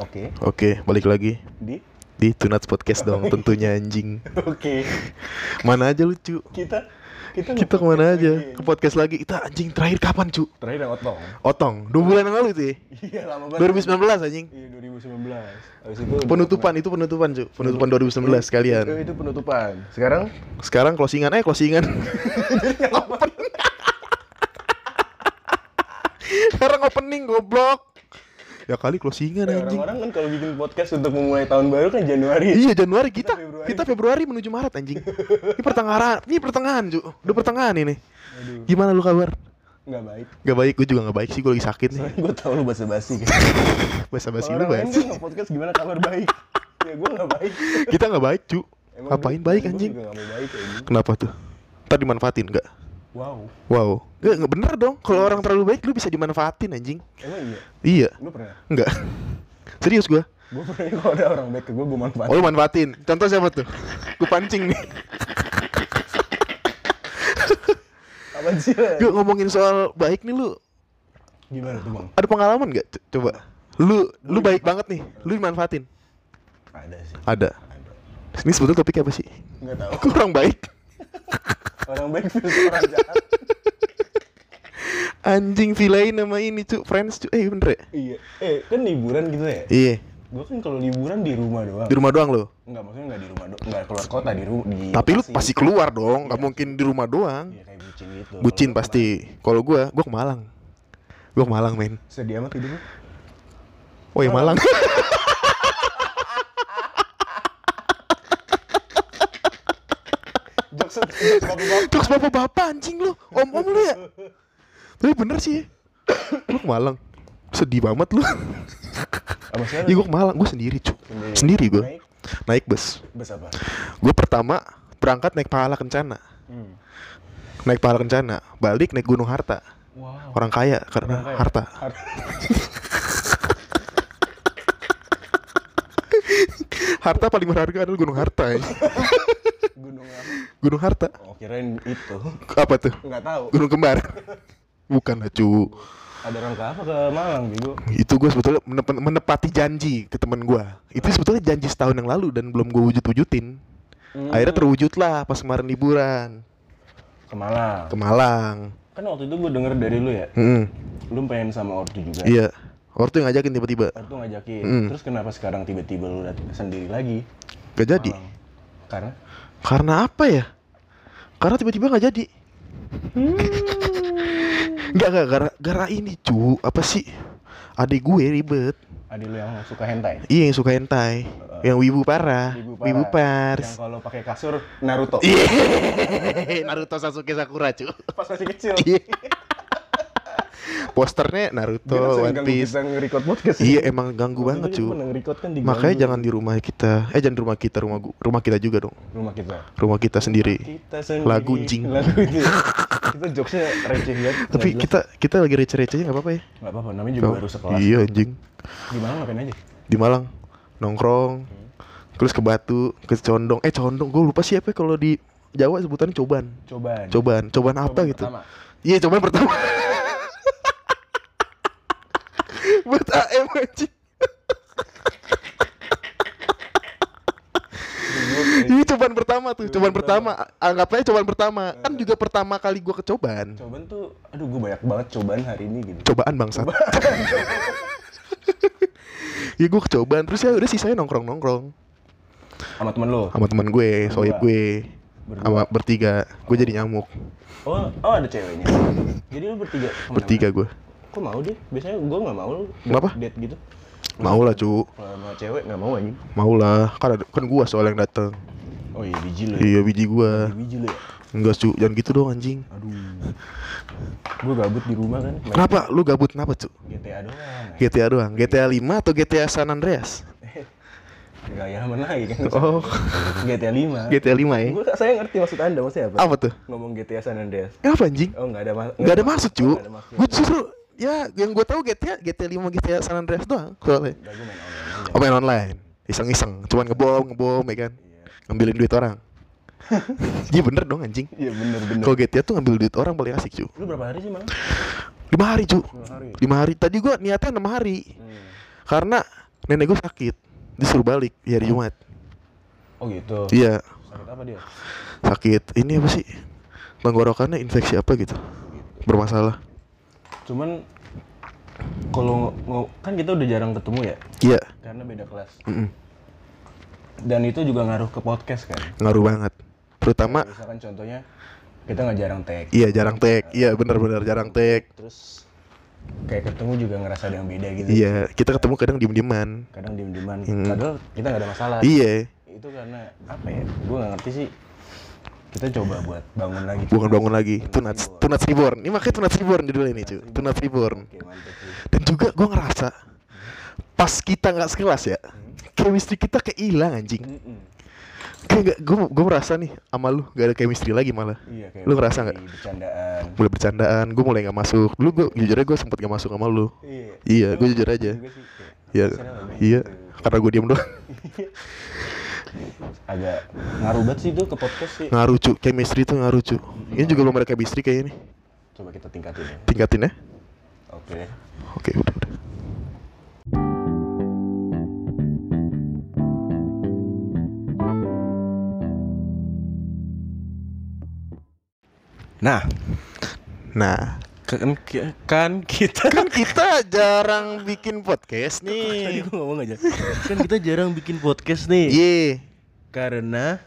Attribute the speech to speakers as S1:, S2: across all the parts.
S1: Oke.
S2: Oke, balik lagi
S1: Di.
S2: di Tunats Podcast dong tentunya anjing.
S1: Oke.
S2: Mana aja lucu.
S1: Kita kita
S2: Kita
S1: nge-podcast
S2: kemana aja?
S1: lagi.
S2: Ke podcast lagi. Kita anjing terakhir kapan, cu?
S1: Terakhir yang otong.
S2: Otong. Dua bulan yang lalu itu ya?
S1: Iya lama banget.
S2: 2019 anjing.
S1: Iya 2019. Habis itu
S2: Penutupan itu penutupan, cu. Penutupan 2019
S1: Itu,
S2: kalian.
S1: itu penutupan. Sekarang
S2: Sekarang closingan eh closingan. Sekarang opening goblok. Ya kali closingan
S1: ya,
S2: anjing.
S1: orang-orang kan kalau bikin podcast untuk memulai tahun baru kan Januari.
S2: Iya Januari kita
S1: Kita Februari.
S2: kita Februari menuju Maret anjing. Ini pertengahan, ini pertengahan Ju. Udah pertengahan ini.
S1: Aduh,
S2: Gimana lu kabar?
S1: nggak baik.
S2: Gak baik, gue juga gak baik sih, gue lagi sakit nih.
S1: Soalnya gue tau lu basa-basi kan.
S2: Bahasa basi
S1: Kalau
S2: lu
S1: orang lain
S2: basi.
S1: kan nge-podcast gimana kabar baik. ya gue nggak baik.
S2: Kita gak baik cu.
S1: Emang
S2: Ngapain
S1: gua-
S2: baik
S1: gua
S2: anjing?
S1: juga nggak mau baik kayak gini.
S2: Kenapa tuh? Ntar dimanfaatin gak?
S1: Wow.
S2: Wow. Gak, gak bener dong. Kalau orang terlalu baik, lu bisa dimanfaatin anjing.
S1: Emang iya.
S2: Iya.
S1: Lu pernah?
S2: Enggak. Serius gue.
S1: Gue pernah kalau ada orang baik ke gue gue manfaat.
S2: Oh lu manfaatin. Contoh siapa tuh? Gue pancing nih.
S1: Apaan sih? Le?
S2: Gue ngomongin soal baik nih lu.
S1: Gimana tuh bang?
S2: Ada pengalaman gak? C- Coba. Lu lu baik banget nih. Lu dimanfaatin.
S1: Ada sih.
S2: Ada.
S1: Ada.
S2: Ini sebetulnya topiknya apa sih?
S1: Nggak tahu.
S2: Aku orang baik.
S1: Orang baik versus orang jahat.
S2: Anjing vilain nama ini cu. Friends cu. Eh bener ya?
S1: iya. Eh, kan liburan gitu ya.
S2: Iya.
S1: Gue kan kalau liburan di rumah doang.
S2: Di rumah doang lo.
S1: Enggak, maksudnya enggak di rumah doang. Enggak keluar kota di rumah. Di
S2: Tapi lu
S1: Bekasi.
S2: Iya, pasti Iya. keluar dong. Gak mungkin di rumah doang.
S1: Iya, kayak bucin gitu.
S2: Bucin
S1: Kalau gua
S2: pasti. Kalau gua, gua ke Malang. Gua ke Malang men.
S1: kemana- Sedih amat hidup lu.
S2: Woi Malang.
S1: Jokes jokes bapak-bapak.
S2: Jokes bapak-bapak anjing lu. Om-om lu ya. Tapi bener sih. Lu ke Malang. Sedih banget lu.
S1: Apa sih?
S2: Ya gua ke Malang. Gua sendiri cu. Sendiri gua.
S1: Naik
S2: Naik bus.
S1: bus apa?
S2: Gua pertama berangkat naik pahala kencana.
S1: Hmm.
S2: Naik pahala kencana. Balik naik gunung harta.
S1: Wow.
S2: Orang kaya karena
S1: Orang kaya.
S2: harta. Harta paling berharga adalah gunung harta. ya.
S1: Gunung apa?
S2: Gunung harta.
S1: Oh, kirain itu.
S2: Apa tuh?
S1: Enggak tahu.
S2: Gunung kembar. Bukan lah cu.
S1: Ada orang ke apa ke Malang, Bego?
S2: Itu gue sebetulnya menep- menepati janji ke temen gue. Itu sebetulnya janji setahun yang lalu dan belum gue wujud-wujudin.
S1: Hmm.
S2: Akhirnya terwujud lah pas kemarin liburan
S1: Ke Malang.
S2: ke Malang.
S1: Kan waktu itu gue denger dari lu ya,
S2: Mm-mm.
S1: lu pengen sama Ortu juga.
S2: Iya. Hmm. Ortu yang ngajakin tiba-tiba.
S1: Ortu ngajakin. Terus kenapa sekarang tiba-tiba lu dat- sendiri lagi?
S2: Gak jadi.
S1: Malang. Karena
S2: Karena apa ya? Karena tiba-tiba nggak jadi.
S1: Hmm.
S2: Nggak nggak gara gara ini cu apa sih? Adik gue ribet.
S1: adik lu yang suka hentai.
S2: Iya yang suka hentai, yang wibu parah,
S1: Ibu Paras.
S2: wibu
S1: Yang
S2: Iya, pars.
S1: kalau pakai kasur Naruto.
S2: Iya. Naruto Sasuke Sakura cu.
S1: Pas masih kecil.
S2: Iya. Posternya Naruto,
S1: Gila, kan sering ganggu gitu.
S2: One Piece.
S1: Kita nge-record podcast.
S2: Iya emang ganggu
S1: Waktu
S2: banget
S1: itu
S2: cu.
S1: kita pernah nge-record kan di
S2: Makanya jangan di rumah kita. Eh jangan di rumah kita, rumah gua, rumah kita juga dong.
S1: rumah kita.
S2: Rumah kita sendiri.
S1: Kita sendiri.
S2: Lagu anjing.
S1: Lagu itu. kita jokesnya receh banget.
S2: Tapi
S1: nggak jelas.
S2: kita kita lagi receh-recehnya nggak apa-apa ya.
S1: nggak apa-apa. Namanya juga baru sekelas.
S2: Iya anjing.
S1: Di Malang ngapain aja?
S2: Di Malang nongkrong. Terus ke Batu, ke Condong. Eh Condong, gue lupa sih apa ya kalau di Jawa sebutannya coban.
S1: Coba.
S2: Cobaan, cobaan apa
S1: Cobaan
S2: gitu?
S1: pertama.
S2: Iya, cobaan pertama. Buat AM anjing. Iya, cobaan pertama tuh, cobaan pertama. Anggapnya cobaan pertama. Kan juga pertama kali gua ke cobaan.
S1: Cobaan tuh, aduh gue banyak banget cobaan hari ini gitu.
S2: Cobaan bangsat. Iya gua ke cobaan, terus ya udah sisanya nongkrong-nongkrong
S1: Sama temen lo.
S2: sama teman gue, sohib gue,
S1: Berdua.
S2: sama bertiga. Gue jadi nyamuk,
S1: Oh, oh ada ceweknya. Jadi lu bertiga. kemana-mana?
S2: bertiga gue.
S1: Kok mau deh? Biasanya gue nggak mau lu. date-
S2: Kenapa?
S1: Date gitu.
S2: Mau lah cu,
S1: Kalau sama cewek nggak mau anjing.
S2: mau lah. Kan ada, kan gua soal yang dateng.
S1: Oh iya biji lu. ya.
S2: Iya biji gua.
S1: Biji lu ya.
S2: Enggak cu, jangan gitu dong anjing.
S1: Aduh. Gue gabut di rumah kan. Main
S2: Kenapa? Lu gabut kenapa cu?
S1: GTA doang.
S2: GTA doang, GTA 5 atau GTA San Andreas?
S1: Gak nyaman lagi kan.
S2: Oh,
S1: GTA 5.
S2: GTA 5 ya?
S1: Gue saya ngerti maksud Anda maksudnya apa?
S2: Apa tuh?
S1: Ngomong GTA San Andreas.
S2: Kenapa anjing?
S1: Oh, nggak ada mas.
S2: Gak Oh. ada maksud cu.
S1: Nggak ada maksud.
S2: Gue justru, ya yang gue tahu GTA, GTA 5, GTA San Andreas doang soalnya.
S1: Nggak, gua main online aja.
S2: Oh main online, iseng-iseng, cuman ngebom, ngebom ya kan? Ngambilin duit orang. Iya bener dong anjing.
S1: Iya bener bener.
S2: Kalau GTA tuh ngambil duit orang paling asik cu.
S1: Lu berapa hari sih malam?
S2: Lima hari cu.
S1: Dua hari.
S2: Lima hari. Tadi gua niatnya enam hari.
S1: Hmm.
S2: Karena nenek gue sakit disuruh balik ya hari Jumat
S1: Oh gitu.
S2: iya
S1: Sakit apa dia?
S2: sakit ini apa sih tenggorokannya infeksi apa gitu bermasalah
S1: Cuman kalau mau kan kita udah jarang ketemu ya
S2: iya
S1: karena beda kelas.
S2: mm-mm,
S1: Dan itu juga ngaruh ke podcast kan.
S2: ngaruh banget terutama
S1: Misalkan contohnya kita nggak jarang tag.
S2: iya jarang tag iya benar-benar jarang tag
S1: Terus kayak ketemu juga ngerasa ada yang beda gitu.
S2: iya kita ketemu kadang diem-dieman
S1: Kadang diem-dieman. Padahal kita nggak ada masalah.
S2: iya
S1: Itu karena apa ya? Gue nggak ngerti sih. Kita coba buat bangun lagi.
S2: bukan bangun lagi tunat tunat reborn ini makanya tunat reborn judul ini cuy tunat reborn
S1: Oke, mantep sih.
S2: dan juga gue ngerasa pas kita nggak sekelas ya chemistry kita kayak hilang anjing
S1: Mm-mm.
S2: kayak gue gue merasa nih sama lu gak ada chemistry lagi malah
S1: Iya kayak
S2: Lu ngerasa nggak?
S1: di Bercandaan.
S2: mulai bercandaan gue mulai nggak masuk dulu gue jujur aja gue sempet nggak masuk sama lu
S1: Iya.
S2: iya gue jujur aja
S1: Juga sih, kayak
S2: iya iya
S1: gitu.
S2: karena gue diem doang
S1: Agak ngaruh banget sih itu ke podcast sih.
S2: ngaruh cu chemistry tuh ngaruh cu ini juga belum ada chemistry kayaknya nih
S1: Coba kita tingkatin ya.
S2: tingkatin ya
S1: Oke.
S2: oke udah udah
S1: Nah,
S2: nah
S1: kan, kan kita
S2: kan kita jarang bikin podcast
S1: tadi
S2: nih
S1: gue ngomong aja kan kita jarang bikin podcast nih
S2: Ye,
S1: karena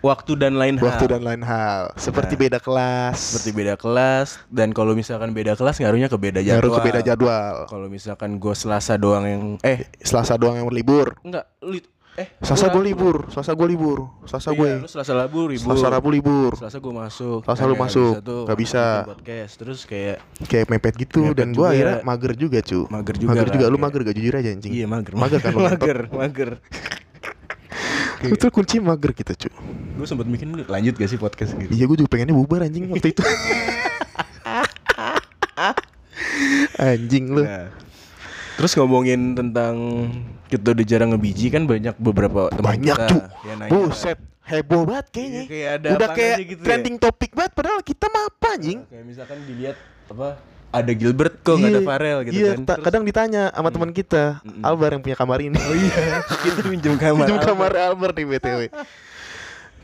S1: waktu dan lain hal
S2: waktu dan lain hal seperti beda kelas
S1: Nah. seperti beda kelas dan kalau misalkan beda kelas ngaruhnya ke beda jadwal
S2: Ngaruh ke beda jadwal
S1: kalau misalkan gue selasa doang yang eh
S2: Selasa doang yang libur
S1: enggak lu eh
S2: Selasa
S1: gua-
S2: gue libur Selasa gue libur Selasa
S1: Iya,
S2: gue
S1: lu selasa labu ribut
S2: Selasa Rabu libur
S1: selasa gue masuk
S2: Selasa
S1: Nah,
S2: lu
S1: kayak
S2: masuk.
S1: tuh,
S2: Nggak bisa.
S1: bikin podcast terus kayak
S2: Kayak mepet gitu
S1: Mepet
S2: Dan gue
S1: juga.
S2: akhirnya mager juga cu
S1: Mager juga
S2: Mager
S1: kan,
S2: juga Lu
S1: kayak-
S2: mager gak jujur aja anjing
S1: iya mager
S2: Mager kan lu Iya.
S1: mager mager
S2: Itu kunci mager kita cu
S1: gue sempet mikir "Ini lanjut gak sih podcast gitu
S2: Iya gue juga pengennya bubar anjing waktu itu Anjing lu
S1: Nah, terus ngomongin tentang kita udah jarang ngebiji kan banyak beberapa teman
S2: Banyak
S1: kita
S2: cu
S1: yang nanya.
S2: Buset Heboh banget kayaknya
S1: Iya, kayak ada
S2: Udah
S1: apaan
S2: kayak
S1: aja gitu ya.
S2: trending topik banget Padahal kita mah apa anjing
S1: Kayak misalkan dilihat apa ada Gilbert kok nggak ada
S2: Iya,
S1: Farel gitu
S2: iya,
S1: kan.
S2: ta-
S1: Terus,
S2: kadang ditanya sama teman kita, Albar yang punya kamar ini.
S1: oh iya, kita minjem kamar.
S2: Pinjam kamar Albar nih BTW.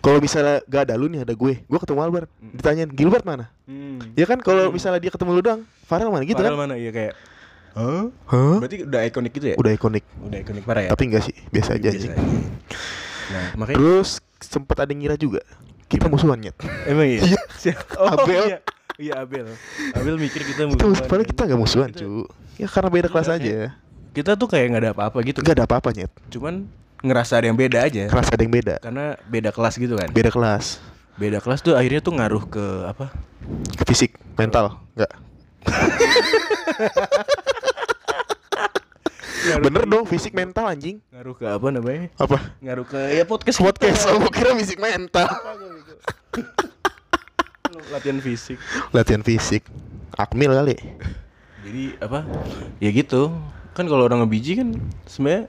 S2: Kalau misalnya gak ada lu nih ada gue, gue ketemu Albar. Ditanyain Gilbert mana?
S1: Hmm.
S2: Ya kan kalau misalnya dia ketemu lu doang, Farel mana gitu
S1: Farel
S2: kan?
S1: mana? Iya kayak. Hah?
S2: Hah?
S1: Berarti udah ikonik gitu ya?
S2: Udah ikonik,
S1: Udah ikonik parah ya.
S2: tapi enggak sih, biasa aja
S1: Biasa
S2: anjing.
S1: aja. Nah, makanya
S2: Terus sempet ada yang ngira juga kita musuhan nyet.
S1: emang iya.
S2: Iya.
S1: Siap- Oh,
S2: Abel.
S1: Iya. Iya, Abel. Abel mikir kita
S2: Kita
S1: musuhan,
S2: musuh, padahal
S1: kan.
S2: kita nggak musuhan cu. Ya karena beda kelas
S1: Iya,
S2: aja.
S1: Kita tuh kayak nggak ada apa-apa gitu.
S2: Gak ada apa-apa nyet.
S1: Cuman ngerasa ada yang beda aja.
S2: Kelas ada yang beda.
S1: Karena beda kelas gitu kan.
S2: Beda kelas.
S1: Beda kelas tuh akhirnya tuh ngaruh ke apa?
S2: Ke fisik, mental, enggak. Bener dong, fisik mental anjing.
S1: Ngaruh ke apa namanya?
S2: Apa?
S1: Ngaruh ke ya podcast
S2: Iya, Podcast, oh, gua kira fisik mental.
S1: latihan fisik.
S2: Latihan fisik. Akmil kali.
S1: Jadi apa? Ya gitu. Kan kalau orang ngebiji kan sebenarnya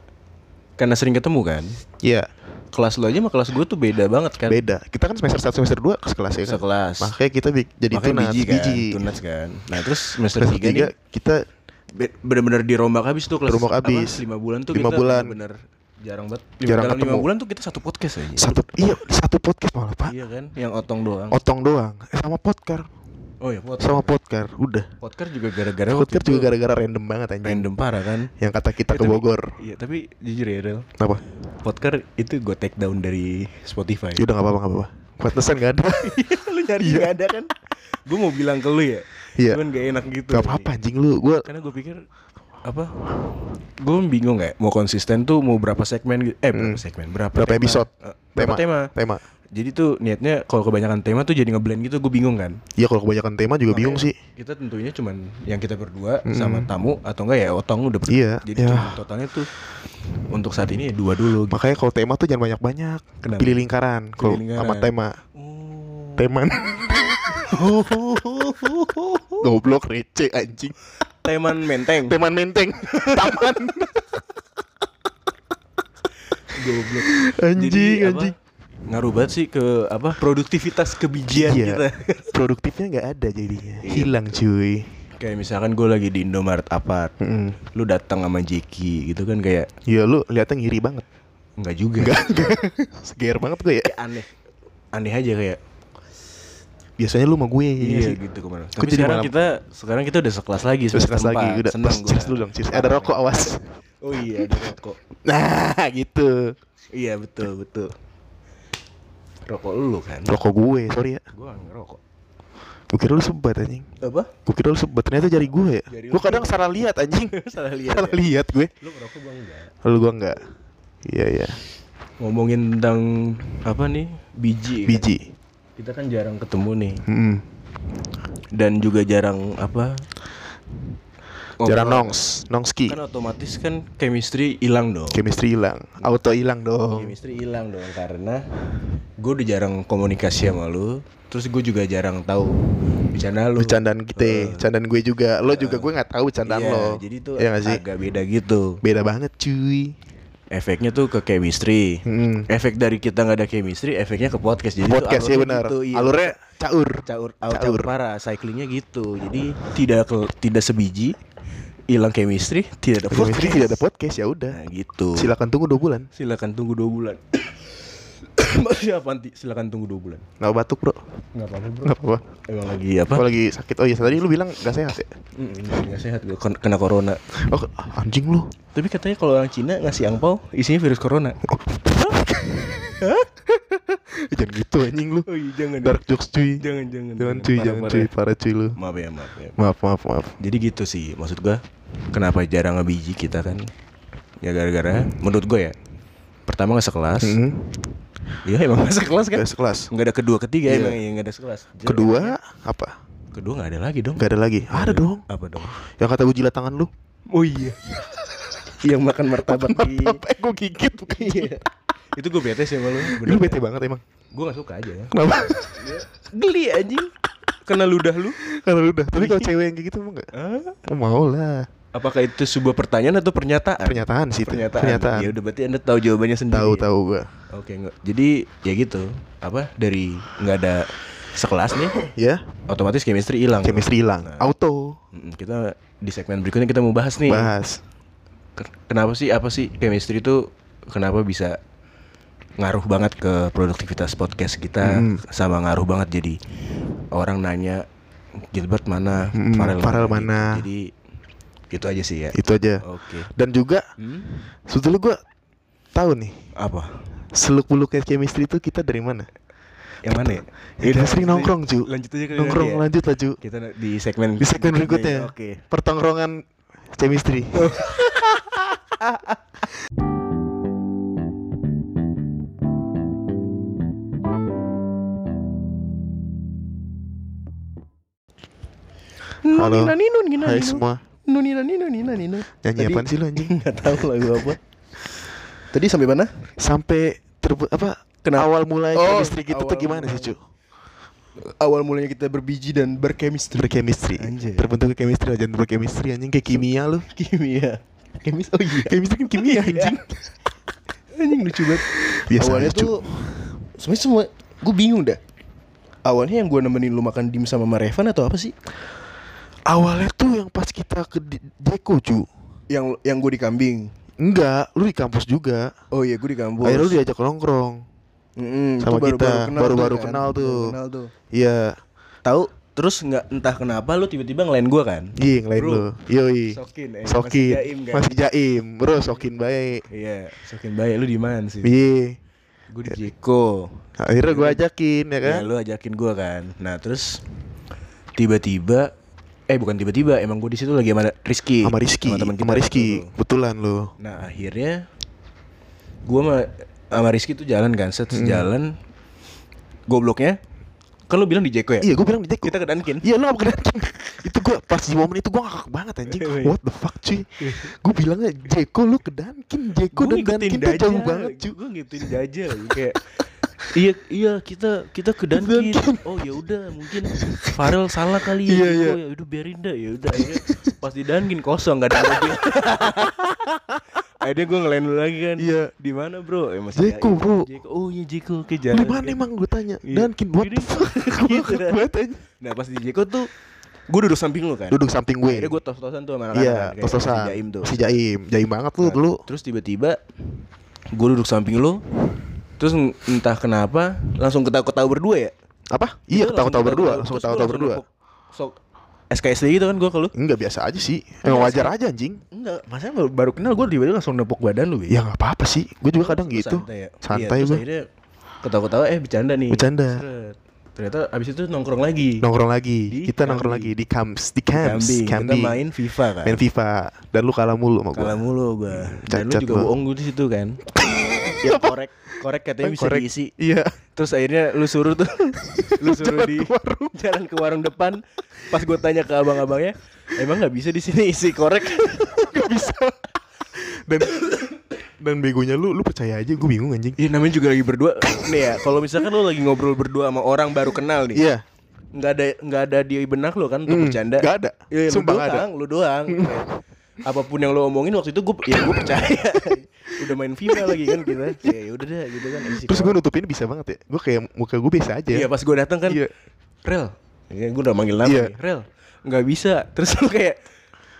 S1: karena sering ketemu kan.
S2: Iya,
S1: Kelas lo aja sama kelas gue tuh beda banget kan.
S2: beda. Kita kan semester 1 semester 2 sekelas ya kan.
S1: Sekelas.
S2: Makanya kita bi- jadi
S1: Makanya
S2: tunas
S1: biji
S2: biji.
S1: kan, tunas kan. Nah, terus semester
S2: Semester
S1: 3 nih
S2: 3 kita
S1: be- bener-bener dirombak habis tuh kelas
S2: Dirombak
S1: apa,
S2: habis.
S1: lima bulan tuh
S2: Lima
S1: kita
S2: bulan.
S1: bener jarang banget.
S2: Jarang
S1: dalam lima
S2: ketemu.
S1: bulan tuh kita satu podcast aja.
S2: satu iya, satu podcast malah, Pak.
S1: Iya kan, yang otong doang.
S2: Otong doang Eh, sama podcast.
S1: oh ya, podcast.
S2: Sama podcast, udah.
S1: Podcast juga gara-gara waktu
S2: Podcast
S1: itu
S2: kan juga gara-gara random banget anjing.
S1: random parah kan.
S2: Yang kata kita ke
S1: tapi-
S2: Bogor.
S1: Iya, tapi jujur ya, Rel.
S2: Kenapa?
S1: Podcast itu gue take down dari Spotify.
S2: Ya udah enggak apa-apa, enggak apa-apa. Pantesan enggak ada.
S1: lu nyari
S2: Iya.
S1: nggak ada kan? Gue mau bilang ke lu ya.
S2: Iya.
S1: Cuman Kan gak enak gitu.
S2: Gak apa-apa anjing lu. Gua
S1: Karena gue pikir apa? Gue bingung kayak mau konsisten tuh mau berapa segmen gitu. Eh, berapa segmen? Berapa,
S2: Hmm. berapa
S1: tema?
S2: episode?
S1: Eh, berapa tema?
S2: Tema.
S1: Jadi tuh niatnya kalau kebanyakan tema tuh jadi ngeblend gitu gue bingung kan.
S2: Iya kalau kebanyakan tema juga bingung sih.
S1: Kita tentunya cuman yang kita berdua sama tamu atau enggak ya otong udah berdua.
S2: Iya,
S1: Jadi
S2: iya.
S1: cuman totalnya tuh untuk saat ini ya dua dulu gitu.
S2: Makanya kalau tema tuh jangan banyak-banyak.
S1: Kenapa?
S2: Pilih lingkaran kalau
S1: Pilih lingkaran. Oh.
S2: sama tema. Tema. Goblok receh anjing.
S1: Teman menteng.
S2: Teman menteng. Taman.
S1: Goblok.
S2: Anjing,
S1: Jadi, apa,
S2: anjing.
S1: Ngaruh banget sih ke
S2: Iya.
S1: apa produktivitas kebijian Kan kita. Iya.
S2: Produktifnya nggak ada jadinya. Hilang cuy.
S1: Kayak misalkan gue lagi di Indomaret Apart,
S2: Mm-mm.
S1: lu datang sama Jeki gitu kan kayak
S2: Iya lu liatnya ngiri banget.
S1: nggak juga.
S2: Enggak, enggak. Seger banget gue ya.
S1: Kayak aneh, aneh aja kayak.
S2: Biasanya lu sama gue.
S1: Iya
S2: sih.
S1: gitu kemana.
S2: Kok
S1: Tapi
S2: jadi
S1: sekarang
S2: malam?
S1: kita sekarang kita udah sekelas lagi,
S2: Terus kelas lagi
S1: setempat.
S2: udah.
S1: Seneng
S2: Terus cheers
S1: gua.
S2: dulu dong, cheers. Ada rokok awas.
S1: Oh iya ada rokok.
S2: Nah, gitu.
S1: Iya betul betul. Rokok lu kan?
S2: Rokok gue, sorry ya.
S1: Gue nggak ngerokok.
S2: Gue kira lu sebat anjing.
S1: Apa?
S2: Gue kira lu sebat, ternyata jari gue ya.
S1: Jari
S2: Gue
S1: lu.
S2: kadang salah lihat anjing.
S1: Salah lihat.
S2: salah
S1: ya?
S2: lihat gue.
S1: Lu ngerokok bang enggak?
S2: Lalu gue enggak. Iya, iya.
S1: Ngomongin tentang apa nih biji. kan?
S2: Biji. Hmm.
S1: Kita kan jarang ketemu nih
S2: Mm-mm.
S1: dan juga jarang apa?
S2: Jarang
S1: ngobrol.
S2: nongs, nongski.
S1: Kan otomatis kan chemistry hilang dong.
S2: Chemistry hilang, auto hilang dong.
S1: Chemistry hilang dong karena gue udah jarang komunikasi sama lu. Terus gue juga jarang tahu bercanda lu.
S2: Bercandaan kita, candaan gue juga. Lo juga gue nggak tahu candaan
S1: Iya,
S2: lo.
S1: Jadi tuh
S2: Iya nggak sih?
S1: agak beda gitu.
S2: Beda banget cuy.
S1: Efeknya tuh ke chemistry.
S2: Mm.
S1: Efek dari kita nggak ada chemistry, efeknya ke podcast. Jadi tuh
S2: Podcast ya
S1: alurnya
S2: benar.
S1: gitu, iya.
S2: Alurnya caur.
S1: caur, au- caur,
S2: Caur.
S1: parah. Cyclingnya gitu. Jadi tidak kel- tidak sebiji, hilang chemistry, tidak ada
S2: Chemistry
S1: podcast.
S2: tidak ada podcast ya udah.
S1: Nah, gitu.
S2: Silakan tunggu dua bulan.
S1: Silakan tunggu dua bulan. Maksudnya apa nanti? Silakan tunggu dua bulan.
S2: Nggak batuk bro,
S1: Nggak apa-apa bro.
S2: nggak apa-apa.
S1: Emang lagi apa?
S2: Gue lagi sakit. Oh iya tadi lu bilang nggak sehat ya.
S1: Mm, Nggak sehat gue kena corona.
S2: Oh, ke- ah, anjing lu.
S1: Tapi katanya kalau orang Cina ngasih angpau isinya virus corona.
S2: jangan gitu anjing lu.
S1: Oh iya jangan.
S2: Dark jokes cuy.
S1: Jangan jangan.
S2: Jangan cuy,
S1: Parah,
S2: jangan
S1: parah.
S2: cuy, parah cuy lu.
S1: Maaf ya maaf ya.
S2: Maaf, maaf, maaf.
S1: Jadi gitu sih maksud gua. Kenapa jarang ngebiji kita kan? Ya gara-gara menurut gua ya. Pertama nggak sekelas.
S2: Mm.
S1: Iya emang Hmm. nggak sekelas kan?
S2: Guys kelas.
S1: Nggak ada kedua ketiga
S2: Iya.
S1: emang ya nggak ada sekelas. Jadi-
S2: Kedua apa?
S1: Kedua nggak ada lagi dong.
S2: Gak ada lagi. Ah, Ada dong.
S1: Apa dong?
S2: Yang kata gue jilat tangan lu.
S1: Oh iya. Yang makan martabak di.
S2: Apa gue gigit bukan
S1: Iya. Itu gue bete sih sama lu.
S2: Lu bete banget emang.
S1: Gue gak suka aja ya.
S2: Kenapa?
S1: Geli anjing. Kena ludah lu.
S2: Karena udah. Tapi
S1: Iya.
S2: kalau cewek yang kayak gitu mau enggak?
S1: Hah?
S2: Oh, mau lah.
S1: Apakah itu sebuah pertanyaan atau pernyataan?
S2: Pernyataan sih itu.
S1: Pernyataan.
S2: Pernyataan.
S1: Ya udah berarti Anda tahu jawabannya sendiri.
S2: Tahu
S1: ya?
S2: tahu gua.
S1: Oke, nggak. Jadi ya gitu. Apa dari nggak ada sekelas nih,
S2: Ya,
S1: otomatis chemistry hilang.
S2: chemistry hilang. Auto.
S1: Mm, Kita di segmen berikutnya kita mau bahas nih.
S2: Bahas.
S1: Ke- Kenapa sih apa sih chemistry itu kenapa bisa ngaruh banget ke produktivitas podcast kita
S2: Mm.
S1: sama ngaruh banget jadi orang nanya Gilbert mana,
S2: Mm, Farel mana. Iya.
S1: Jadi itu aja sih ya.
S2: Itu aja.
S1: Oke.
S2: Dan juga
S1: Hmm?
S2: sebetulnya gua tahu nih
S1: Apa?
S2: seluk beluknya chemistry itu kita dari mana?
S1: Yang mana ya?
S2: Ya,
S1: Udah,
S2: kita sering
S1: lanjut aja-
S2: nongkrong, Ju.
S1: Lanjut aja ke
S2: Nongkrong
S1: ya.
S2: lanjut lah, Ju.
S1: Kita na- di segmen ya,
S2: Di segmen berikutnya.
S1: Oke.
S2: Pertongkrongan chemistry.
S1: Oh.
S2: Halo.
S1: Nina nino nina
S2: Hai
S1: nino.
S2: semua.
S1: Nunina nino nina nino.
S2: Nyanyi
S1: Nah, Tadi-
S2: apaan sih lu anjing?
S1: Nggak tahu lagu apa. Tadi sampai mana?
S2: Sampai terbu apa?
S1: Kenapa?
S2: Awal mulai
S1: Oh,
S2: chemistry kita tuh
S1: awal
S2: gimana
S1: mulai.
S2: sih, Cu?
S1: Awal mulanya kita berbiji dan berchemistry.
S2: Berchemistry.
S1: Anjay.
S2: Terbentuk chemistry lah, jangan berchemistry anjing kayak kimia lu.
S1: Kimia. Chemis oh iya.
S2: Chemistry kan kimia anjing.
S1: Anjing lucu banget.
S2: Biasa
S1: Awalnya
S2: aja, Cu.
S1: tuh sebenarnya semua gue bingung dah. Awalnya yang gue nemenin lu makan dim sama Marevan atau apa sih?
S2: Awalnya tuh yang pas kita ke di- Jeko, Cu.
S1: Yang yang gue di kambing.
S2: Enggak, lu di kampus juga.
S1: Oh iya gue di kampus.
S2: Akhirnya lu diajak nongkrong.
S1: Mm-mm, itu
S2: sama
S1: baru-baru
S2: kita,
S1: kenal tuh
S2: baru-baru
S1: kan.
S2: kenal tuh.
S1: Baru kenal tuh.
S2: Iya.
S1: Tahu terus nggak entah kenapa lu tiba-tiba ngelain gua kan?
S2: Iya, yang lain
S1: Bro,
S2: lu. Yoi.
S1: Sokin, eh, masih
S2: Sokin.
S1: jaim kan?
S2: Masih jaim, Bro, sokin baik.
S1: Iya, sokin baik lu di mana sih?
S2: Iya.
S1: Gue di Jeko.
S2: Akhirnya gua ajakin ya kan.
S1: Ya lu ajakin gua kan. Nah, terus tiba-tiba eh bukan tiba-tiba, emang gua di situ lagi sama Rizky.
S2: Sama Rizky.
S1: teman kita
S2: Sama Rizky.
S1: waktu itu.
S2: Betulan lu.
S1: Nah, akhirnya gua sama sama Rizky tuh jalan kan, set
S2: Hmm.
S1: sejalan. Gobloknya kan lu bilang di Jeko ya?
S2: Iya, gua bilang di Jeko.
S1: Kita ke Dunkin.
S2: Iya lu apa kena anjing? Itu gua pas di momen itu gua ngakak banget anjing
S1: Iya, iya.
S2: What the fuck cuy Gua bilangnya Jeko lu ke Dunkin Jeko dan Dunkin tuh jauh banget cuy
S1: Gue ngikutin Dajjal kayak Iya, iya kita kita ke Dunkin.
S2: Dunkin.
S1: Oh ya udah, mungkin Farel salah kali ya.
S2: Iya,
S1: Jiko.
S2: iya.
S1: Ya udah biarin dah ya udah. akhirnya Pas di Dunkin kosong nggak ada mobil. Akhirnya gue ngelain lu lagi kan.
S2: Iya.
S1: Di mana bro? Ya, masih
S2: Jeko,
S1: jaim.
S2: bro.
S1: Jeko. Oh iya Jeko ke
S2: Lu
S1: jalan.
S2: mana emang gua tanya
S1: Iya.
S2: Dunkin what
S1: Jadi-
S2: the fuck Gua
S1: Gitu
S2: ngakak
S1: dah.
S2: banget anjing
S1: Nah pas di Jeko tuh Gue duduk samping lu kan.
S2: duduk samping gue
S1: Akhirnya gue tos-tosan tuh sama anak-anak.
S2: iya
S1: kan, kayak
S2: tos-tosan
S1: si Jaim tuh. Nah,
S2: si jaim jaim banget lu dulu
S1: Terus tiba-tiba gue duduk samping lu. Terus n- entah kenapa langsung ketawa-ketawa berdua ya.
S2: apa iya
S1: Lu
S2: ketawa-tawa
S1: langsung
S2: berdua langsung
S1: terus
S2: ketawa-tawa
S1: lu
S2: berdua
S1: langsung nepok- Sok SKSD gitu kan gue ke lu.
S2: enggak biasa aja sih
S1: Iya,
S2: emang wajar aja anjing
S1: Enggak, masa baru, baru kenal gue tiba-tiba langsung nepok badan lu
S2: ya nggak apa-apa sih gue juga kadang
S1: Terus
S2: gitu
S1: Santai, ya.
S2: santai
S1: iya, terus
S2: gue
S1: akhirnya ketawa-ketawa eh bercanda nih.
S2: Bercanda.
S1: Seret. Ternyata abis itu nongkrong lagi.
S2: nongkrong lagi
S1: Di
S2: kita nongkrong
S1: Kambi.
S2: lagi di camps di camps
S1: Kambing. Kita
S2: Kambi.
S1: main FIFA kan.
S2: main FIFA dan lu kalah mulu sama gue
S1: Kalah mulu gua. Dan lu
S2: cacat
S1: juga
S2: gua.
S1: bohong gua di situ kan. ya korek, korek katanya bisa
S2: Korek.
S1: diisi.
S2: iya
S1: Terus akhirnya lu suruh tuh lu suruh
S2: Jalan
S1: di
S2: ke warung.
S1: jalan ke warung depan. Pas gua tanya ke abang-abangnya, emang nggak bisa di sini isi korek?
S2: nggak bisa dan dan begonya lu lu percaya aja gue bingung anjing
S1: Iya namanya juga lagi berdua. Nih ya, kalau misalkan lu lagi ngobrol berdua sama orang baru kenal nih.
S2: iya
S1: Nggak ada nggak ada di benak lu kan untuk
S2: Hmm,
S1: bercanda.
S2: nggak ada.
S1: Iya, lu
S2: Sumpah nggak ada.
S1: doang, lu doang. Kayak, Apapun yang lu omongin waktu itu gue ya gue percaya. Udah main FIFA lagi kan kita. Kayak ya udah deh gitu kan isi
S2: terus
S1: korek.
S2: gue nutupin bisa banget ya gue kayak muka gue biasa aja
S1: Iya pas gue datang kan
S2: Iya.
S1: Rel ya, Gue udah manggil nama
S2: Iya.
S1: nih, Rel nggak bisa Terus lu kayak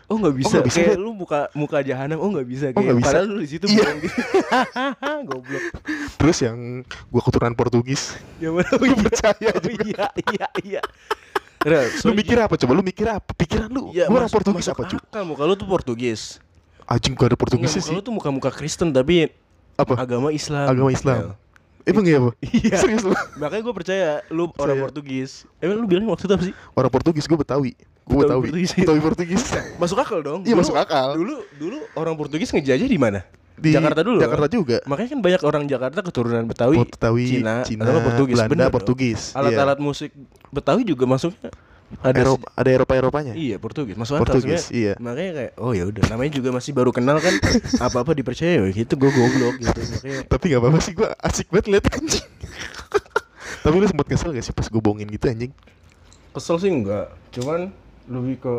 S1: Oh nggak bisa
S2: nggak bisa,
S1: Kayak
S2: Dad.
S1: lu muka muka jahanam Oh nggak bisa
S2: Oh,
S1: kayak,
S2: nggak bisa.
S1: Padahal lu disitu
S2: Iya.
S1: bohong gitu. Goblok
S2: terus yang gue keturunan Portugis
S1: Ya mana
S2: Lu percaya
S1: Oh, Iya iya iya Rel
S2: lu mikir apa coba lu mikir apa pikiran lu
S1: ya,
S2: gue orang Portugis apa cuy
S1: Akal, muka lu tuh Portugis
S2: anjing gak ada
S1: Enggak,
S2: Portugisnya
S1: muka
S2: sih
S1: lu tuh muka-muka Kristen tapi
S2: apa
S1: agama Islam
S2: agama
S1: Rel.
S2: Islam emang iya apa
S1: Iya.
S2: serius lu
S1: Makanya gue percaya lu orang
S2: Percaya.
S1: Portugis Emang lu bilang waktu itu apa sih?
S2: orang Portugis gue Betawi gue
S1: Betawi
S2: Betawi
S1: Portugis. iya.
S2: Betawi Portugis
S1: Masuk akal dong.
S2: Iya, masuk akal.
S1: Dulu dulu orang Portugis ngejajah di mana?
S2: Di
S1: Jakarta dulu.
S2: Jakarta
S1: kan?
S2: juga.
S1: Makanya kan banyak orang Jakarta keturunan Betawi,
S2: Betawi,
S1: Cina,
S2: Cina,
S1: atau Portugis.
S2: Belanda,
S1: Bener dong.
S2: Portugis, iya.
S1: Alat-alat musik Betawi juga masuknya ada
S2: Eropa, ada Eropa Eropanya
S1: Iya Portugis masuk akal
S2: Portugis,
S1: sebenarnya.
S2: iya.
S1: Makanya kayak oh ya udah namanya juga masih baru kenal kan apa apa dipercaya ya gitu gue goblok gitu makanya
S2: tapi nggak apa-apa sih gue asik banget liat anjing tapi lu sempat kesel gak sih pas gue bohongin gitu anjing
S1: kesel sih enggak cuman lebih ke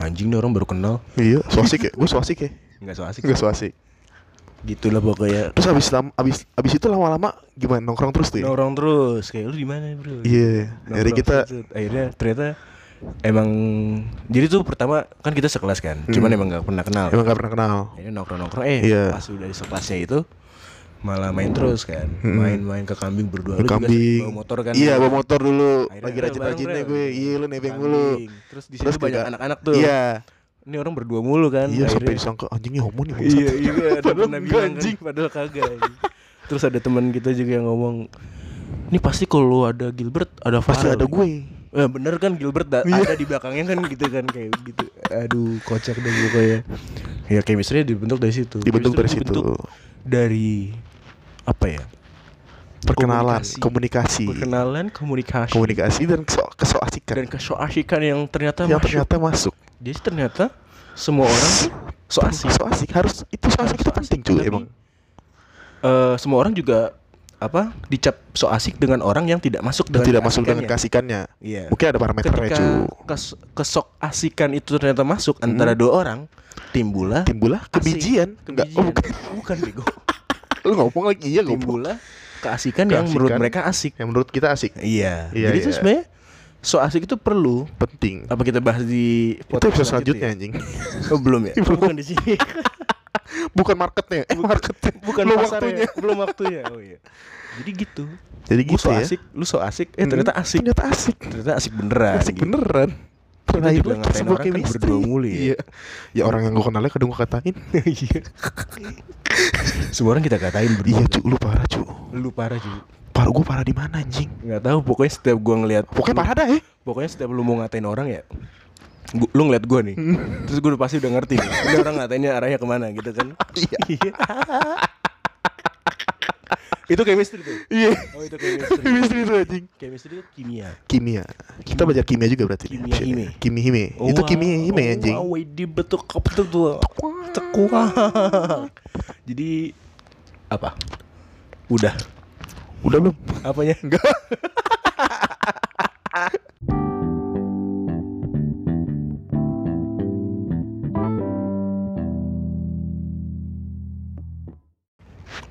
S1: anjing nih orang baru kenal
S2: iya so asik ya gue so asik ya
S1: nggak so asik
S2: nggak so asik
S1: gitulah pokoknya
S2: terus abis lam, abis abis itu lama-lama gimana nongkrong terus tuh ya?
S1: Nongkrong terus kayak lu di mana bro?
S2: iya jadi
S1: Nongkrong
S2: kita
S1: terus. Nah, akhirnya ternyata emang jadi tuh pertama kan kita sekelas kan, cuman emang nggak pernah kenal.
S2: emang gak pernah kenal
S1: Akhirnya nongkrong nongkrong eh
S2: Hmm. Iya.
S1: pas udah di sekelasnya itu malah main terus kan, main-main ke kambing berdua. Lu juga
S2: Hmm. kambing
S1: bawa motor kan?
S2: iya bawa motor dulu
S1: Akhirnya
S2: lagi
S1: kita
S2: rajin-rajinnya
S1: bareng,
S2: gue
S1: Rel.
S2: iya lu nebeng
S1: Kambing.
S2: dulu
S1: Terus di situ banyak
S2: juga-
S1: anak-anak tuh.
S2: iya
S1: Ini orang berdua mulu kan.
S2: iya sampai
S1: akhirnya-
S2: disangka anjingnya homo nih bangsat.
S1: Iya iya ada
S2: Padahal
S1: pernah
S2: enggak,
S1: bilang
S2: anjing
S1: kan, padahal kagak. anjing. Terus ada teman kita juga yang ngomong, ini pasti kalau ada Gilbert ada
S2: pasti
S1: Farel
S2: ada
S1: nih."
S2: gue
S1: Eh, bener kan Gilbert da-
S2: Iya.
S1: ada di belakangnya kan gitu kan kayak gitu. Aduh kocak deh pokoknya. Ya chemistry dibentuk dari situ.
S2: dibentuk dari
S1: Chemistry
S2: situ
S1: dibentuk dari apa ya?
S2: perkenalan
S1: komunikasi.
S2: komunikasi
S1: Perkenalan, komunikasi,
S2: komunikasi dan keso kesoasikan
S1: dan kesoasikan yang ternyata
S2: yang
S1: masuk.
S2: Ya, ternyata masuk
S1: Jadi ternyata semua orang tuh so asik.
S2: soasik harus itu soasik itu
S1: so asik,
S2: penting cuy
S1: tapi-
S2: emang
S1: Eh, semua orang juga apa dicap so asik dengan orang yang tidak masuk
S2: dan
S1: dengan
S2: tidak masuk dengan
S1: keasikannya.
S2: kasihkannya
S1: Iya.
S2: mungkin ada parameternya
S1: ketika
S2: cuy
S1: kes- kesok asikan itu ternyata masuk
S2: Hmm.
S1: antara dua orang timbullah
S2: timbullah
S1: asik.
S2: kebijian enggak
S1: Kebijian.
S2: oh bukan
S1: bukan bego
S2: lu ngomong lagi iya ngomong
S1: timbullah keasikan yang
S2: Keasikan.
S1: menurut mereka asik
S2: yang menurut kita asik
S1: iya
S2: Iya,
S1: jadi itu
S2: iya.
S1: sebenarnya so asik itu perlu
S2: penting
S1: apa kita bahas di
S2: itu episode selanjutnya anjing
S1: ya? Oh, belum ya Oh, bukan di sini
S2: bukan marketnya eh, marketnya
S1: bukan
S2: Lu
S1: pasarnya belum waktunya oh iya jadi gitu
S2: jadi
S1: Gua
S2: gitu
S1: so
S2: ya
S1: asik lu so asik eh ternyata
S2: Hmm,
S1: asik
S2: ternyata asik
S1: ternyata asik beneran
S2: asik
S1: gitu.
S2: beneran
S1: Kita
S2: Terakhir
S1: juga
S2: lagi
S1: ngatain
S2: sebuah
S1: orang kan
S2: chemistry.
S1: berdua mulu ya.
S2: Iya Ya orang yang gue kenalnya kadang gue katain
S1: Iya. Semua orang kita katain berdua.
S2: Iya cu lu parah cu
S1: Lu parah juga.
S2: Parah gue parah di mana anjing
S1: Nggak tahu pokoknya setiap gua ngelihat
S2: Pokoknya parah dah ya
S1: pokoknya setiap lu mau ngatain orang ya gua- lu ngeliat gua nih terus gua udah pasti udah ngerti nih. Ini orang ngatainnya arahnya kemana gitu kan iya itu chemistry tuh
S2: Iya
S1: oh itu chemistry
S2: Chemistry itu anjing
S1: chemistry itu kimia
S2: kimia. Kita belajar kimia juga berarti. di
S1: Kimia
S2: episode
S1: hime. Oh,
S2: ini. Kimi hime. itu kimia hime anjing.
S1: wow di betul betul tuh jadi apa udah
S2: Udah belum?
S1: apanya enggak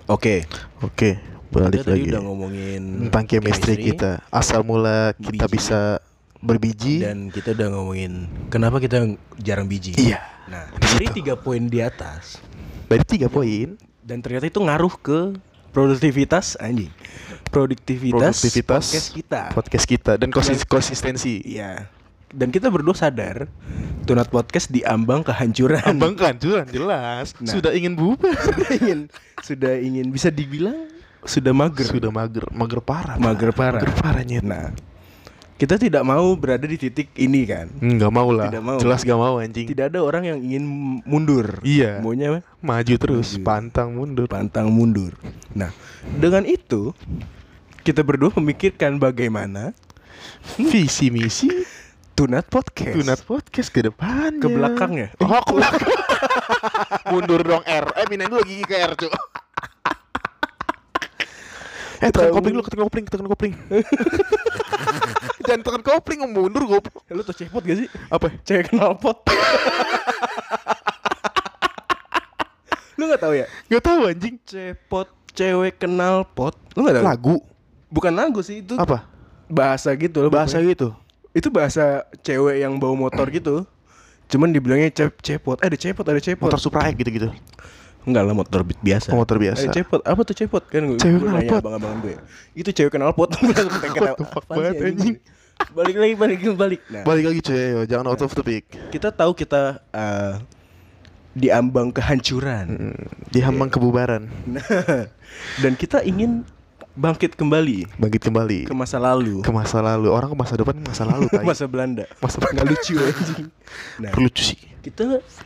S1: Oke,
S2: Oke. balik
S1: kita tadi
S2: lagi
S1: udah ngomongin
S2: tentang chemistry Hmm, kita asal mula kita
S1: Biji.
S2: bisa berbiji
S1: dan kita udah ngomongin kenapa kita jarang biji.
S2: Iya.
S1: Nah,
S2: Di
S1: dari
S2: situ.
S1: tiga poin di atas
S2: dari tiga
S1: Iya.
S2: poin
S1: dan ternyata itu ngaruh ke produktivitas anjing. Produktivitas,
S2: Produktivitas.
S1: podcast kita.
S2: podcast kita dan konsis- konsistensi
S1: Iya. Dan kita berdua sadar Tunat Podcast diambang kehancuran.
S2: abang kan curang jelas
S1: Nah.
S2: sudah ingin bubar
S1: sudah ingin sudah ingin bisa dibilang sudah mager.
S2: sudah mager mager parah Pak.
S1: Mager parah.
S2: mager parah nyet
S1: Nah, kita tidak mau berada di titik ini kan.
S2: nggak mau lah
S1: Tidak mau.
S2: jelas nggak mau anjing
S1: Tidak ada orang yang ingin mundur.
S2: Iya.
S1: Maunya
S2: maju terus
S1: Maju.
S2: pantang mundur
S1: pantang mundur. Nah, dengan itu kita berdua memikirkan bagaimana
S2: visi misi
S1: Tunat Podcast
S2: tunat podcast ke depannya
S1: ke belakang ya.
S2: oh ke belakang mundur dong R eh pindahin dulu gigi ke R cu eh tekan
S1: Tahu.
S2: kopling dulu tekan kopling tekan kopling jangan tekan kopling mundur goblok
S1: Eh, Lu tau cepot gak sih?
S2: apa
S1: Cewek knalpot. Lu gak tahu ya?
S2: nggak tahu anjing
S1: Cepot cewek kenal pot. Lu gak tahu?
S2: lagu
S1: Bukan lagu sih itu.
S2: apa
S1: Bahasa gitu loh.
S2: bahasa
S1: pokoknya.
S2: gitu
S1: itu bahasa cewek yang bawa motor gitu. Cuman dibilangnya cep cepot. Eh, ada cepot, ada cepot.
S2: motor Supra X gitu-gitu
S1: Enggak lah motor beat biasa.
S2: Oh, motor
S1: Ada
S2: biasa
S1: cepot. Apa tuh cepot? Kan gue
S2: Cewek
S1: gue nanya
S2: knalpot.
S1: abang-abang gue. Itu cewek kenal pot.
S2: What the fuck banget, anjing.
S1: Balik lagi, balik balik. Nah,
S2: balik lagi cuy ayo, jangan out of topic
S1: kita tahu kita eh, diambang kehancuran.
S2: Hmm. di hambang kebubaran
S1: Nah, dan kita ingin bangkit kembali
S2: bangkit kembali
S1: ke masa lalu,
S2: ke masa lalu orang ke masa depan ke masa lalu tai.
S1: masa Belanda.
S2: masa
S1: Nggak lucu anjing. Nah,
S2: lucu sih
S1: kita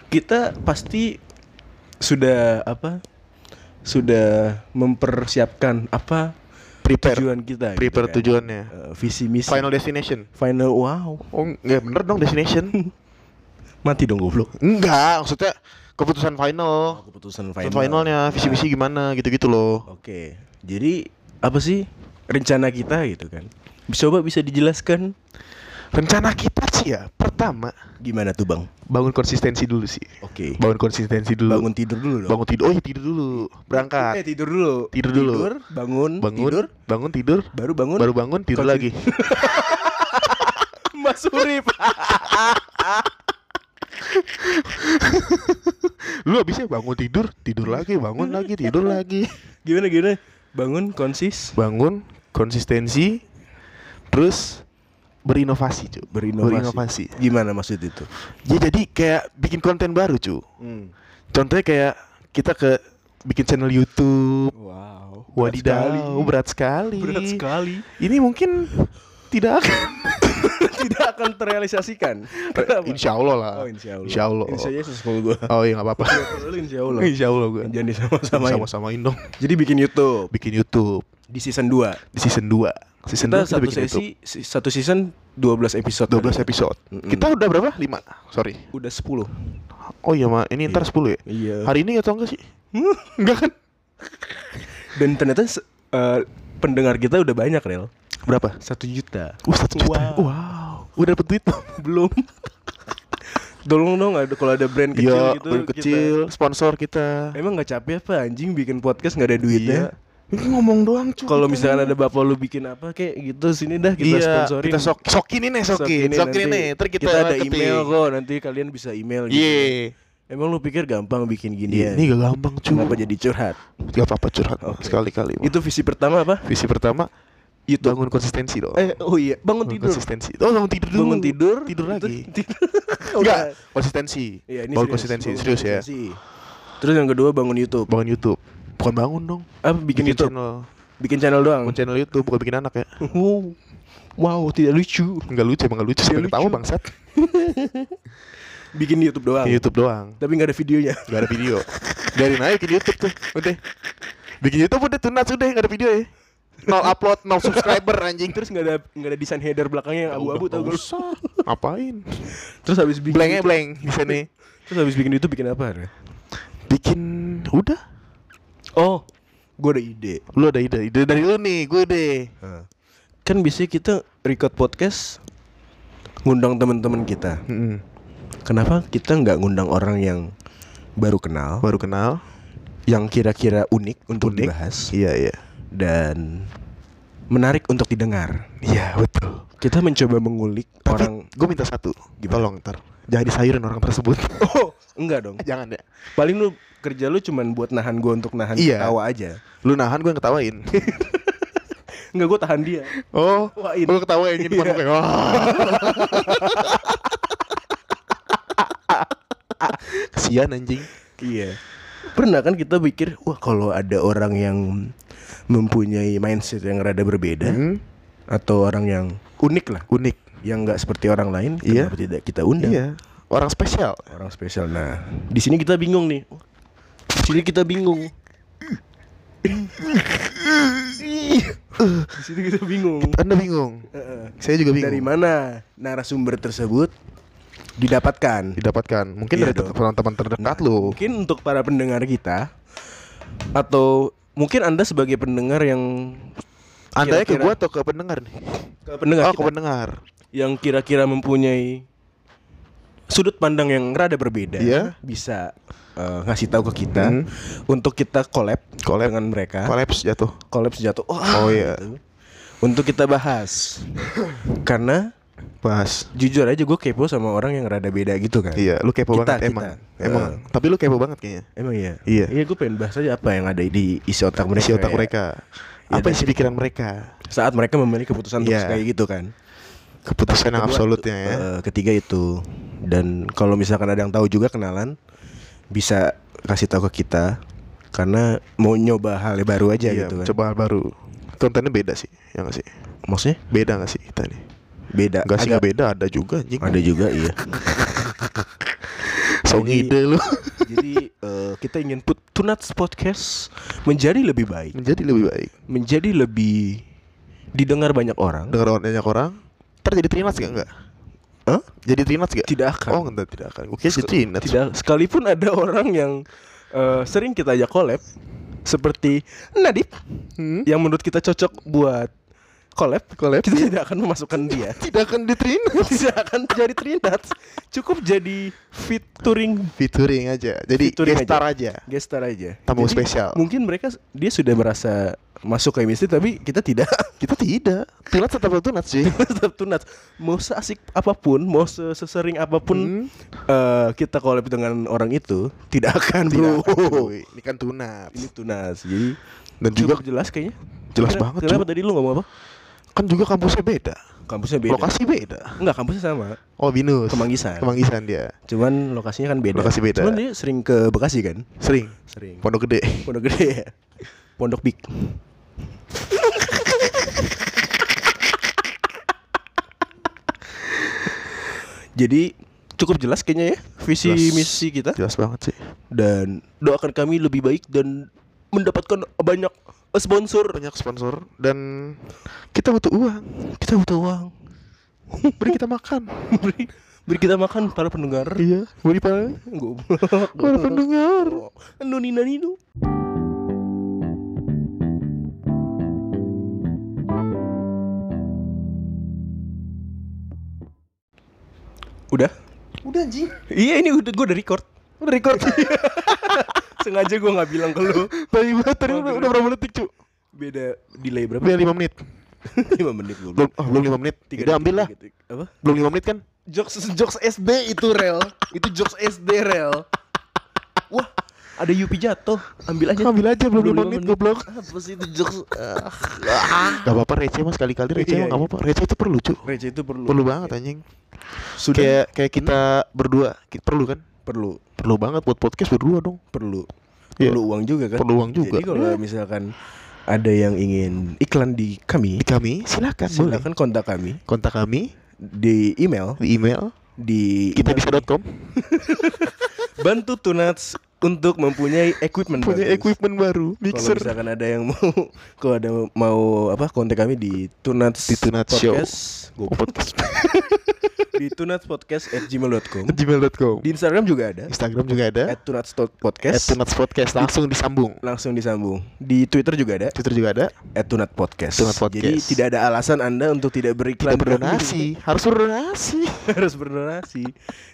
S1: kita pasti sudah apa? Sudah mempersiapkan apa
S2: prepare
S1: tujuan kita. gitu
S2: prepare
S1: kan.
S2: tujuannya
S1: Eh, visi misi.
S2: final destination
S1: Final wow.
S2: oh nggak bener dong destination
S1: Mati dong goblok.
S2: enggak maksudnya keputusan final
S1: Keputusan
S2: final
S1: Nah.
S2: finalnya visi misi gimana gitu gitu loh
S1: Oke. Jadi apa sih rencana kita gitu kan? Coba bisa dijelaskan
S2: rencana kita sih ya pertama
S1: gimana tuh, Bang?
S2: bangun konsistensi dulu sih
S1: Oke.
S2: bangun konsistensi dulu
S1: Bangun tidur dulu dong.
S2: bangun tidur oh iya tidur dulu
S1: Eh,
S2: berangkat
S1: tidur dulu.
S2: Tidur dulu.
S1: bangun,
S2: bangun
S1: tidur,
S2: bangun tidur
S1: baru bangun.
S2: baru bangun tidur
S1: Konsi-
S2: lagi
S1: Mas Urip.
S2: lu abisnya bangun tidur tidur lagi bangun lagi tidur lagi
S1: gimana gimana? Bangun konsis,
S2: bangun konsistensi terus berinovasi cuy
S1: berinovasi.
S2: berinovasi
S1: Gimana maksud itu?
S2: ya jadi kayak bikin konten baru cuy contohnya kayak kita ke bikin channel YouTube
S1: Wow.
S2: wadidaw berat sekali
S1: Berat sekali.
S2: ini mungkin tidak akan
S1: Tidak akan terrealisasikan. Kenapa?
S2: insya Allah lah
S1: Oh, insya Allah.
S2: insya Allah
S1: Insya Allah sesuai gua.
S2: oh iya nggak apa-apa
S1: Lu insya Allah.
S2: insya Allah gue
S1: Jangan disama-samain.
S2: sama-samain dong
S1: Jadi bikin YouTube
S2: bikin YouTube
S1: di season 2.
S2: di season 2 season
S1: Kita
S2: 2 kita
S1: satu
S2: bikin YouTube
S1: sesi si- satu season 12 episode.
S2: 12 episode
S1: Mm-mm.
S2: kita udah berapa 5 sorry
S1: Udah 10.
S2: Oh iya ma, ini ntar 10 ya?
S1: Iya.
S2: Hari ini atau enggak sih? enggak kan?
S1: Dan ternyata se- eh, pendengar kita udah banyak, Rel.
S2: Berapa?
S1: Satu juta.
S2: Uh, 1 juta. Wow. Udah dapet duit belum?
S1: Belum. Tolong dong ada kalau ada brand kecil
S2: Iya,
S1: gitu.
S2: baru
S1: kita-
S2: kecil, sponsor kita.
S1: Emang nggak capek apa anjing bikin podcast nggak ada duitnya?
S2: Iya. Ini ngomong doang cuy.
S1: Kalau misalkan ada bapak lu bikin apa kayak gitu sini dah kita
S2: kita iya,
S1: sponsorin.
S2: Kita sok sokinin nih, sokin.
S1: Sokinin
S2: Sokin
S1: nanti.
S2: nih, ntar kita,
S1: ada
S2: deketin.
S1: email kok nanti kalian bisa email gitu.
S2: Iya.
S1: Emang lu pikir gampang bikin gini ya?
S2: Iya, Ini gak gampang cuy.
S1: Kenapa jadi curhat?
S2: Gak apa-apa curhat Ma.
S1: Oke.
S2: sekali-kali. Ma.
S1: Itu visi pertama apa?
S2: visi pertama
S1: YouTube.
S2: bangun konsistensi dong.
S1: Eh, oh iya, bangun
S2: Bangun
S1: tidur.
S2: Konsistensi. Oh, bangun tidur dulu.
S1: Bangun tidur,
S2: tidur
S1: itu-
S2: lagi.
S1: tidur.
S2: Enggak, konsistensi.
S1: Iya, ini
S2: bangun
S1: serius,
S2: konsistensi
S1: bangun
S2: serius ya.
S1: konsistensi. Terus yang kedua bangun YouTube.
S2: Bangun YouTube. Bukan bangun dong.
S1: Apa bikin, YouTube?
S2: channel.
S1: Bikin channel doang.
S2: Bukan channel YouTube, bukan bikin anak ya.
S1: Wow. Wow, tidak lucu.
S2: Enggak lucu, emang enggak lucu. Siapa
S1: Nggak
S2: yang tahu
S1: lucu.
S2: bangsat?
S1: Bikin YouTube doang.
S2: Di YouTube doang.
S1: Tapi nggak ada videonya.
S2: Enggak ada video. Dari naik ke YouTube tuh. Udah. Bikin YouTube udah tunas udah enggak ada video ya. Nol upload, nol subscriber anjing
S1: Terus
S2: terus
S1: nggak ada nggak ada desain header belakangnya yang abu-abu tau gak?
S2: usah. Ngapain?
S1: Terus habis bikin
S2: Blanknya
S1: YouTube-
S2: blank di sini.
S1: Terus habis bikin YouTube bikin apa? Re?
S2: Bikin udah.
S1: Oh, gue ada ide.
S2: Lu ada ide, ide dari lu nih, gue deh.
S1: Kan biasanya kita record podcast ngundang teman-teman kita.
S2: Mm-mm.
S1: Kenapa kita nggak ngundang orang yang baru kenal,
S2: Baru kenal.
S1: yang kira-kira unik untuk
S2: Unik.
S1: dibahas
S2: Iya, iya.
S1: dan menarik untuk didengar.
S2: Iya betul.
S1: Kita mencoba mengulik orang
S2: Tapi gue minta satu, tolong ntar jangan disayurin orang tersebut.
S1: Oh, enggak dong.
S2: jangan ya.
S1: Paling lu kerja lu cuman buat nahan gua untuk nahan
S2: Iya.
S1: ketawa aja.
S2: Lu nahan gue yang ketawain.
S1: Enggak gua tahan dia.
S2: oh,
S1: Ketawain.
S2: lu ketawain jadi
S1: Iya.
S2: kayak wah. Kesian anjing.
S1: Iya. Pernah kan kita pikir, wah kalau ada orang yang mempunyai mindset yang rada berbeda
S2: Hmm,
S1: atau orang yang unik lah,
S2: unik.
S1: yang nggak seperti orang lain,
S2: Iya.
S1: kenapa tidak kita undang
S2: Iya. Orang spesial.
S1: orang spesial. Nah, di sini kita bingung nih. Di sini kita bingung. di sini kita bingung.
S2: Anda bingung. Saya juga bingung.
S1: Dari mana narasumber tersebut didapatkan?
S2: Didapatkan. Mungkin
S1: Iya
S2: dari
S1: dong.
S2: teman-teman terdekat lu.
S1: Mungkin untuk para pendengar kita atau mungkin Anda sebagai pendengar yang
S2: Anda ke
S1: kira-kira-
S2: gua atau ke pendengar nih?
S1: ke pendengar
S2: oh, ke
S1: kita,
S2: pendengar.
S1: yang kira-kira mempunyai sudut pandang yang rada berbeda
S2: Iya.
S1: bisa eh, ngasih tahu ke kita
S2: Hmm.
S1: untuk kita collab,
S2: Collab.
S1: dengan mereka.
S2: Kolaps jatuh.
S1: Collab sejatuh. Oh,
S2: Oh, iya.
S1: gitu. Untuk kita bahas. Karena
S2: Bahas.
S1: jujur aja gue kepo sama orang yang rada beda gitu kan.
S2: Iya, lu kepo
S1: Kita,
S2: banget
S1: kita.
S2: emang. Emang.
S1: Eh.
S2: Tapi lu kepo banget kayaknya.
S1: Emang iya.
S2: Iya.
S1: Iya gue pengen bahas aja apa yang ada di isi otak mereka.
S2: Isi otak
S1: ya.
S2: mereka.
S1: Iya,
S2: Apa
S1: dan
S2: isi pikiran mereka?
S1: Saat mereka memilih keputusan untuk
S2: Iya.
S1: kayak gitu kan.
S2: Keputusan yang
S1: Kedua,
S2: absolutnya ya.
S1: eh, ketiga itu. Dan kalau misalkan ada yang tahu juga kenalan bisa kasih tahu ke kita karena mau nyoba hal yang baru aja
S2: Iya,
S1: gitu kan.
S2: coba hal baru. Kontennya beda sih, ya nggak sih?
S1: Maksudnya
S2: Beda nggak sih kita nih?
S1: beda.
S2: Nggak sih
S1: Agak-
S2: nggak beda, ada juga anjing.
S1: Ada juga iya.
S2: So
S1: Jadi-
S2: ngide lu.
S1: Jadi eh, kita ingin put Tunats Podcast menjadi lebih baik,
S2: Menjadi lebih baik.
S1: menjadi lebih didengar banyak orang.
S2: Dengar orang banyak orang. Ntar jadi trinats gak enggak?
S1: Hah?
S2: Jadi trinats gak?
S1: Tidak akan.
S2: Oh enggak tidak akan. Gue kira jadi trinats.
S1: Tidak sekalipun ada orang yang eh, sering kita ajak collab seperti Nadib
S2: Hmm?
S1: yang menurut kita cocok buat collab,
S2: Collab,
S1: kita tidak akan memasukkan dia.
S2: Tidak akan di trinats.
S1: tidak akan jadi Trinats, cukup jadi featuring
S2: Featuring aja. Jadi
S1: Featuring
S2: guest star aja.
S1: guest star aja.
S2: Tamu
S1: Jadi,
S2: spesial.
S1: Mungkin mereka dia sudah merasa masuk chemistry tapi kita tidak.
S2: Kita tidak. Trinats tetap trinats sih.
S1: tetap tunat mau seasik apapun mau se- sesering
S2: Hmm.
S1: apapun eh, kita collab dengan orang itu tidak akan bro
S2: Tidak akan, cuy. Ini kan tunats.
S1: ini tunas jadi
S2: Dan juga
S1: cukup jelas kayaknya
S2: jelas
S1: Kira-
S2: banget,
S1: kenapa
S2: cuy.
S1: tadi lu ngomong apa
S2: kan juga kampusnya beda.
S1: kampusnya beda
S2: Lokasi beda.
S1: enggak kampusnya sama
S2: Oh binus.
S1: Kemanggisan.
S2: Kemanggisan dia.
S1: cuman lokasinya kan beda
S2: Lokasi beda.
S1: cuman dia sering ke Bekasi kan
S2: Sering.
S1: sering
S2: Pondok gede.
S1: pondok gede ya pondok big Jadi cukup jelas kayaknya ya visi
S2: Jelas.
S1: misi kita.
S2: Jelas banget sih.
S1: dan doakan kami lebih baik dan mendapatkan banyak sponsor.
S2: banyak sponsor dan kita butuh uang
S1: Kita butuh uang.
S2: beri kita makan
S1: beri, beri kita makan para pendengar.
S2: iya beri para
S1: Goblok.
S2: para pendengar
S1: Nonina Nino. Udah?
S2: udah anjing
S1: Iya ini udah gue udah record. Udah record. Sengaja gue nggak bilang ke lu.
S2: tadi banget tadi udah, udah berapa detik cu
S1: Beda delay berapa?
S2: gitu. udah lima menit
S1: 5 menit gue.
S2: belum oh, belum lima menit udah ambil lah
S1: Apa?
S2: belum lima menit kan
S1: jokes jokes SD itu rel itu jokes SD rel wah ada Yupi jatuh ambil aja
S2: ambil aja Iya. belum
S1: Belum
S2: lima
S1: lima
S2: menit
S1: menit.
S2: goblok
S1: apa sih itu jokes Ah,
S2: gak apa-apa receh mas kali-kali receh
S1: Iya,
S2: mah gak apa-apa receh itu perlu cu
S1: receh itu perlu
S2: perlu banget anjing
S1: sudah
S2: kayak kayak kita berdua ki- perlu kan
S1: perlu
S2: perlu banget buat podcast berdua dong
S1: perlu
S2: Iya.
S1: perlu uang juga kan
S2: Perlu uang juga.
S1: jadi kalau
S2: Iya.
S1: misalkan ada yang ingin iklan di kami
S2: di kami silakan boleh
S1: silakan kontak kami
S2: kontak kami
S1: di email
S2: di email
S1: di
S2: kita
S1: email
S2: bisa.com
S1: bantu tunats untuk mempunyai equipment
S2: punya
S1: bagus.
S2: equipment baru
S1: Kalau
S2: mixer
S1: misalkan ada yang mau kalau ada mau apa kontak kami di Tunats
S2: Di Tunats Show.
S1: Podcast Goblok.
S2: Oh, podcast
S1: di tunatspodcast@gmail.com.
S2: gmail.com
S1: Di Instagram juga ada
S2: Instagram juga ada
S1: @tunatspodcast.
S2: Iya. Tunats Podcast
S1: Nah.
S2: langsung disambung
S1: langsung disambung. Di Twitter juga ada
S2: Twitter juga ada
S1: @tunatpodcast.
S2: Tunat Podcast.
S1: Jadi tidak ada alasan Anda untuk tidak
S2: Kita
S1: beriklan.
S2: berdonasi Harus berdonasi
S1: Harus berdonasi.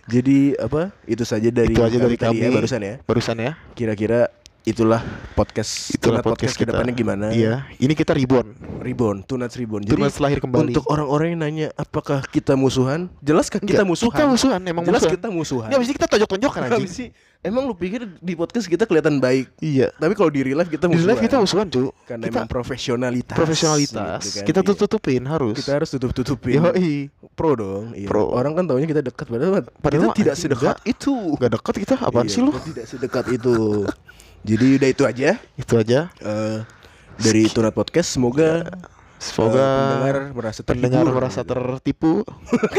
S1: Jadi apa? Itu saja dari
S2: Itu aja dari
S1: tadi ya,
S2: kami.
S1: barusan ya.
S2: Barusan ya
S1: Kira-kira itulah podcast
S2: Itulah
S1: Two Nuts
S2: podcast, kita.
S1: kedepannya gimana
S2: Iya, ini kita reborn.
S1: Ribbon, Tunas Ribbon. Jadi
S2: Tunas lahir kembali.
S1: untuk orang-orang yang nanya apakah kita musuhan, jelas kan kita
S2: Enggak,
S1: musuhan.
S2: Kita musuhan, emang
S1: jelas
S2: musuhan.
S1: kita musuhan.
S2: Ini abis ini kita tojok-tojokan aja.
S1: Habis sih, emang lu pikir di podcast kita kelihatan baik,
S2: Iya.
S1: tapi kalau di real life kita
S2: Di
S1: musuhan.
S2: live kita musuhan cu.
S1: karena
S2: kita
S1: emang profesionalitas.
S2: profesionalitas.
S1: gitu kan,
S2: Kita
S1: iya.
S2: tutup-tutupin harus.
S1: Kita harus tutup-tutupin.
S2: Yoi.
S1: Pro dong. Iya.
S2: Pro.
S1: Orang kan taunya kita dekat padahal,
S2: Padahal mah
S1: kita tidak
S2: anjing,
S1: sedekat itu.
S2: Gak Uh, deket kita, apaan
S1: Iya,
S2: sih lu?
S1: kita Tidak sedekat itu. Jadi udah itu aja
S2: Itu aja.
S1: eh, dari Tunat Podcast. Semoga
S2: Iya. Semoga
S1: eh, pendengar merasa terhibur.
S2: pendengar merasa tertipu.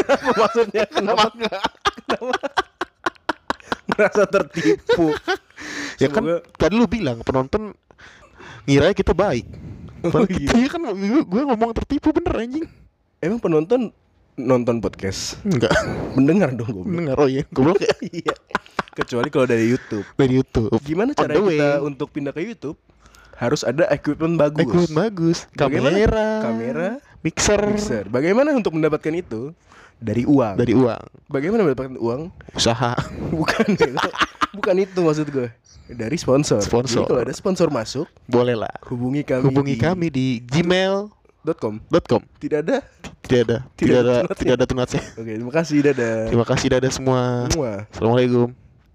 S1: Apa maksudnya kenapa Kenapa? merasa tertipu
S2: ya kan
S1: Semoga-
S2: tadi lu bilang penonton ngira kita baik. Padahal
S1: iya.
S2: kita- iya kan gue ngomong tertipu bener anjing.
S1: emang penonton nonton podcast
S2: Enggak.
S1: mendengar dong gue
S2: Dengar oh iya, goblok ya Eh,
S1: iya kecuali kalau dari YouTube
S2: dari YouTube.
S1: gimana
S2: On
S1: cara
S2: the way.
S1: kita untuk pindah ke YouTube harus ada equipment bagus
S2: Equipment bagus.
S1: Bagaimana?
S2: Kamera.
S1: kamera
S2: Mixer.
S1: mixer bagaimana untuk mendapatkan itu dari uang
S2: Dari uang.
S1: bagaimana mendapatkan uang
S2: Usaha.
S1: bukan bego. bukan itu maksud gue dari sponsor
S2: Sponsor.
S1: Jadi kalau ada sponsor masuk
S2: Boleh lah.
S1: hubungi kami
S2: Hubungi
S1: di
S2: kami di gmail.com.
S1: .com tidak ada
S2: Tidak ada. Tidak,
S1: Tidak ada
S2: ada.
S1: tunatnya.
S2: Tidak ada tunatnya.
S1: oke terima kasih dadah
S2: Terima kasih dadah semua.
S1: Mwah.
S2: Assalamualaikum.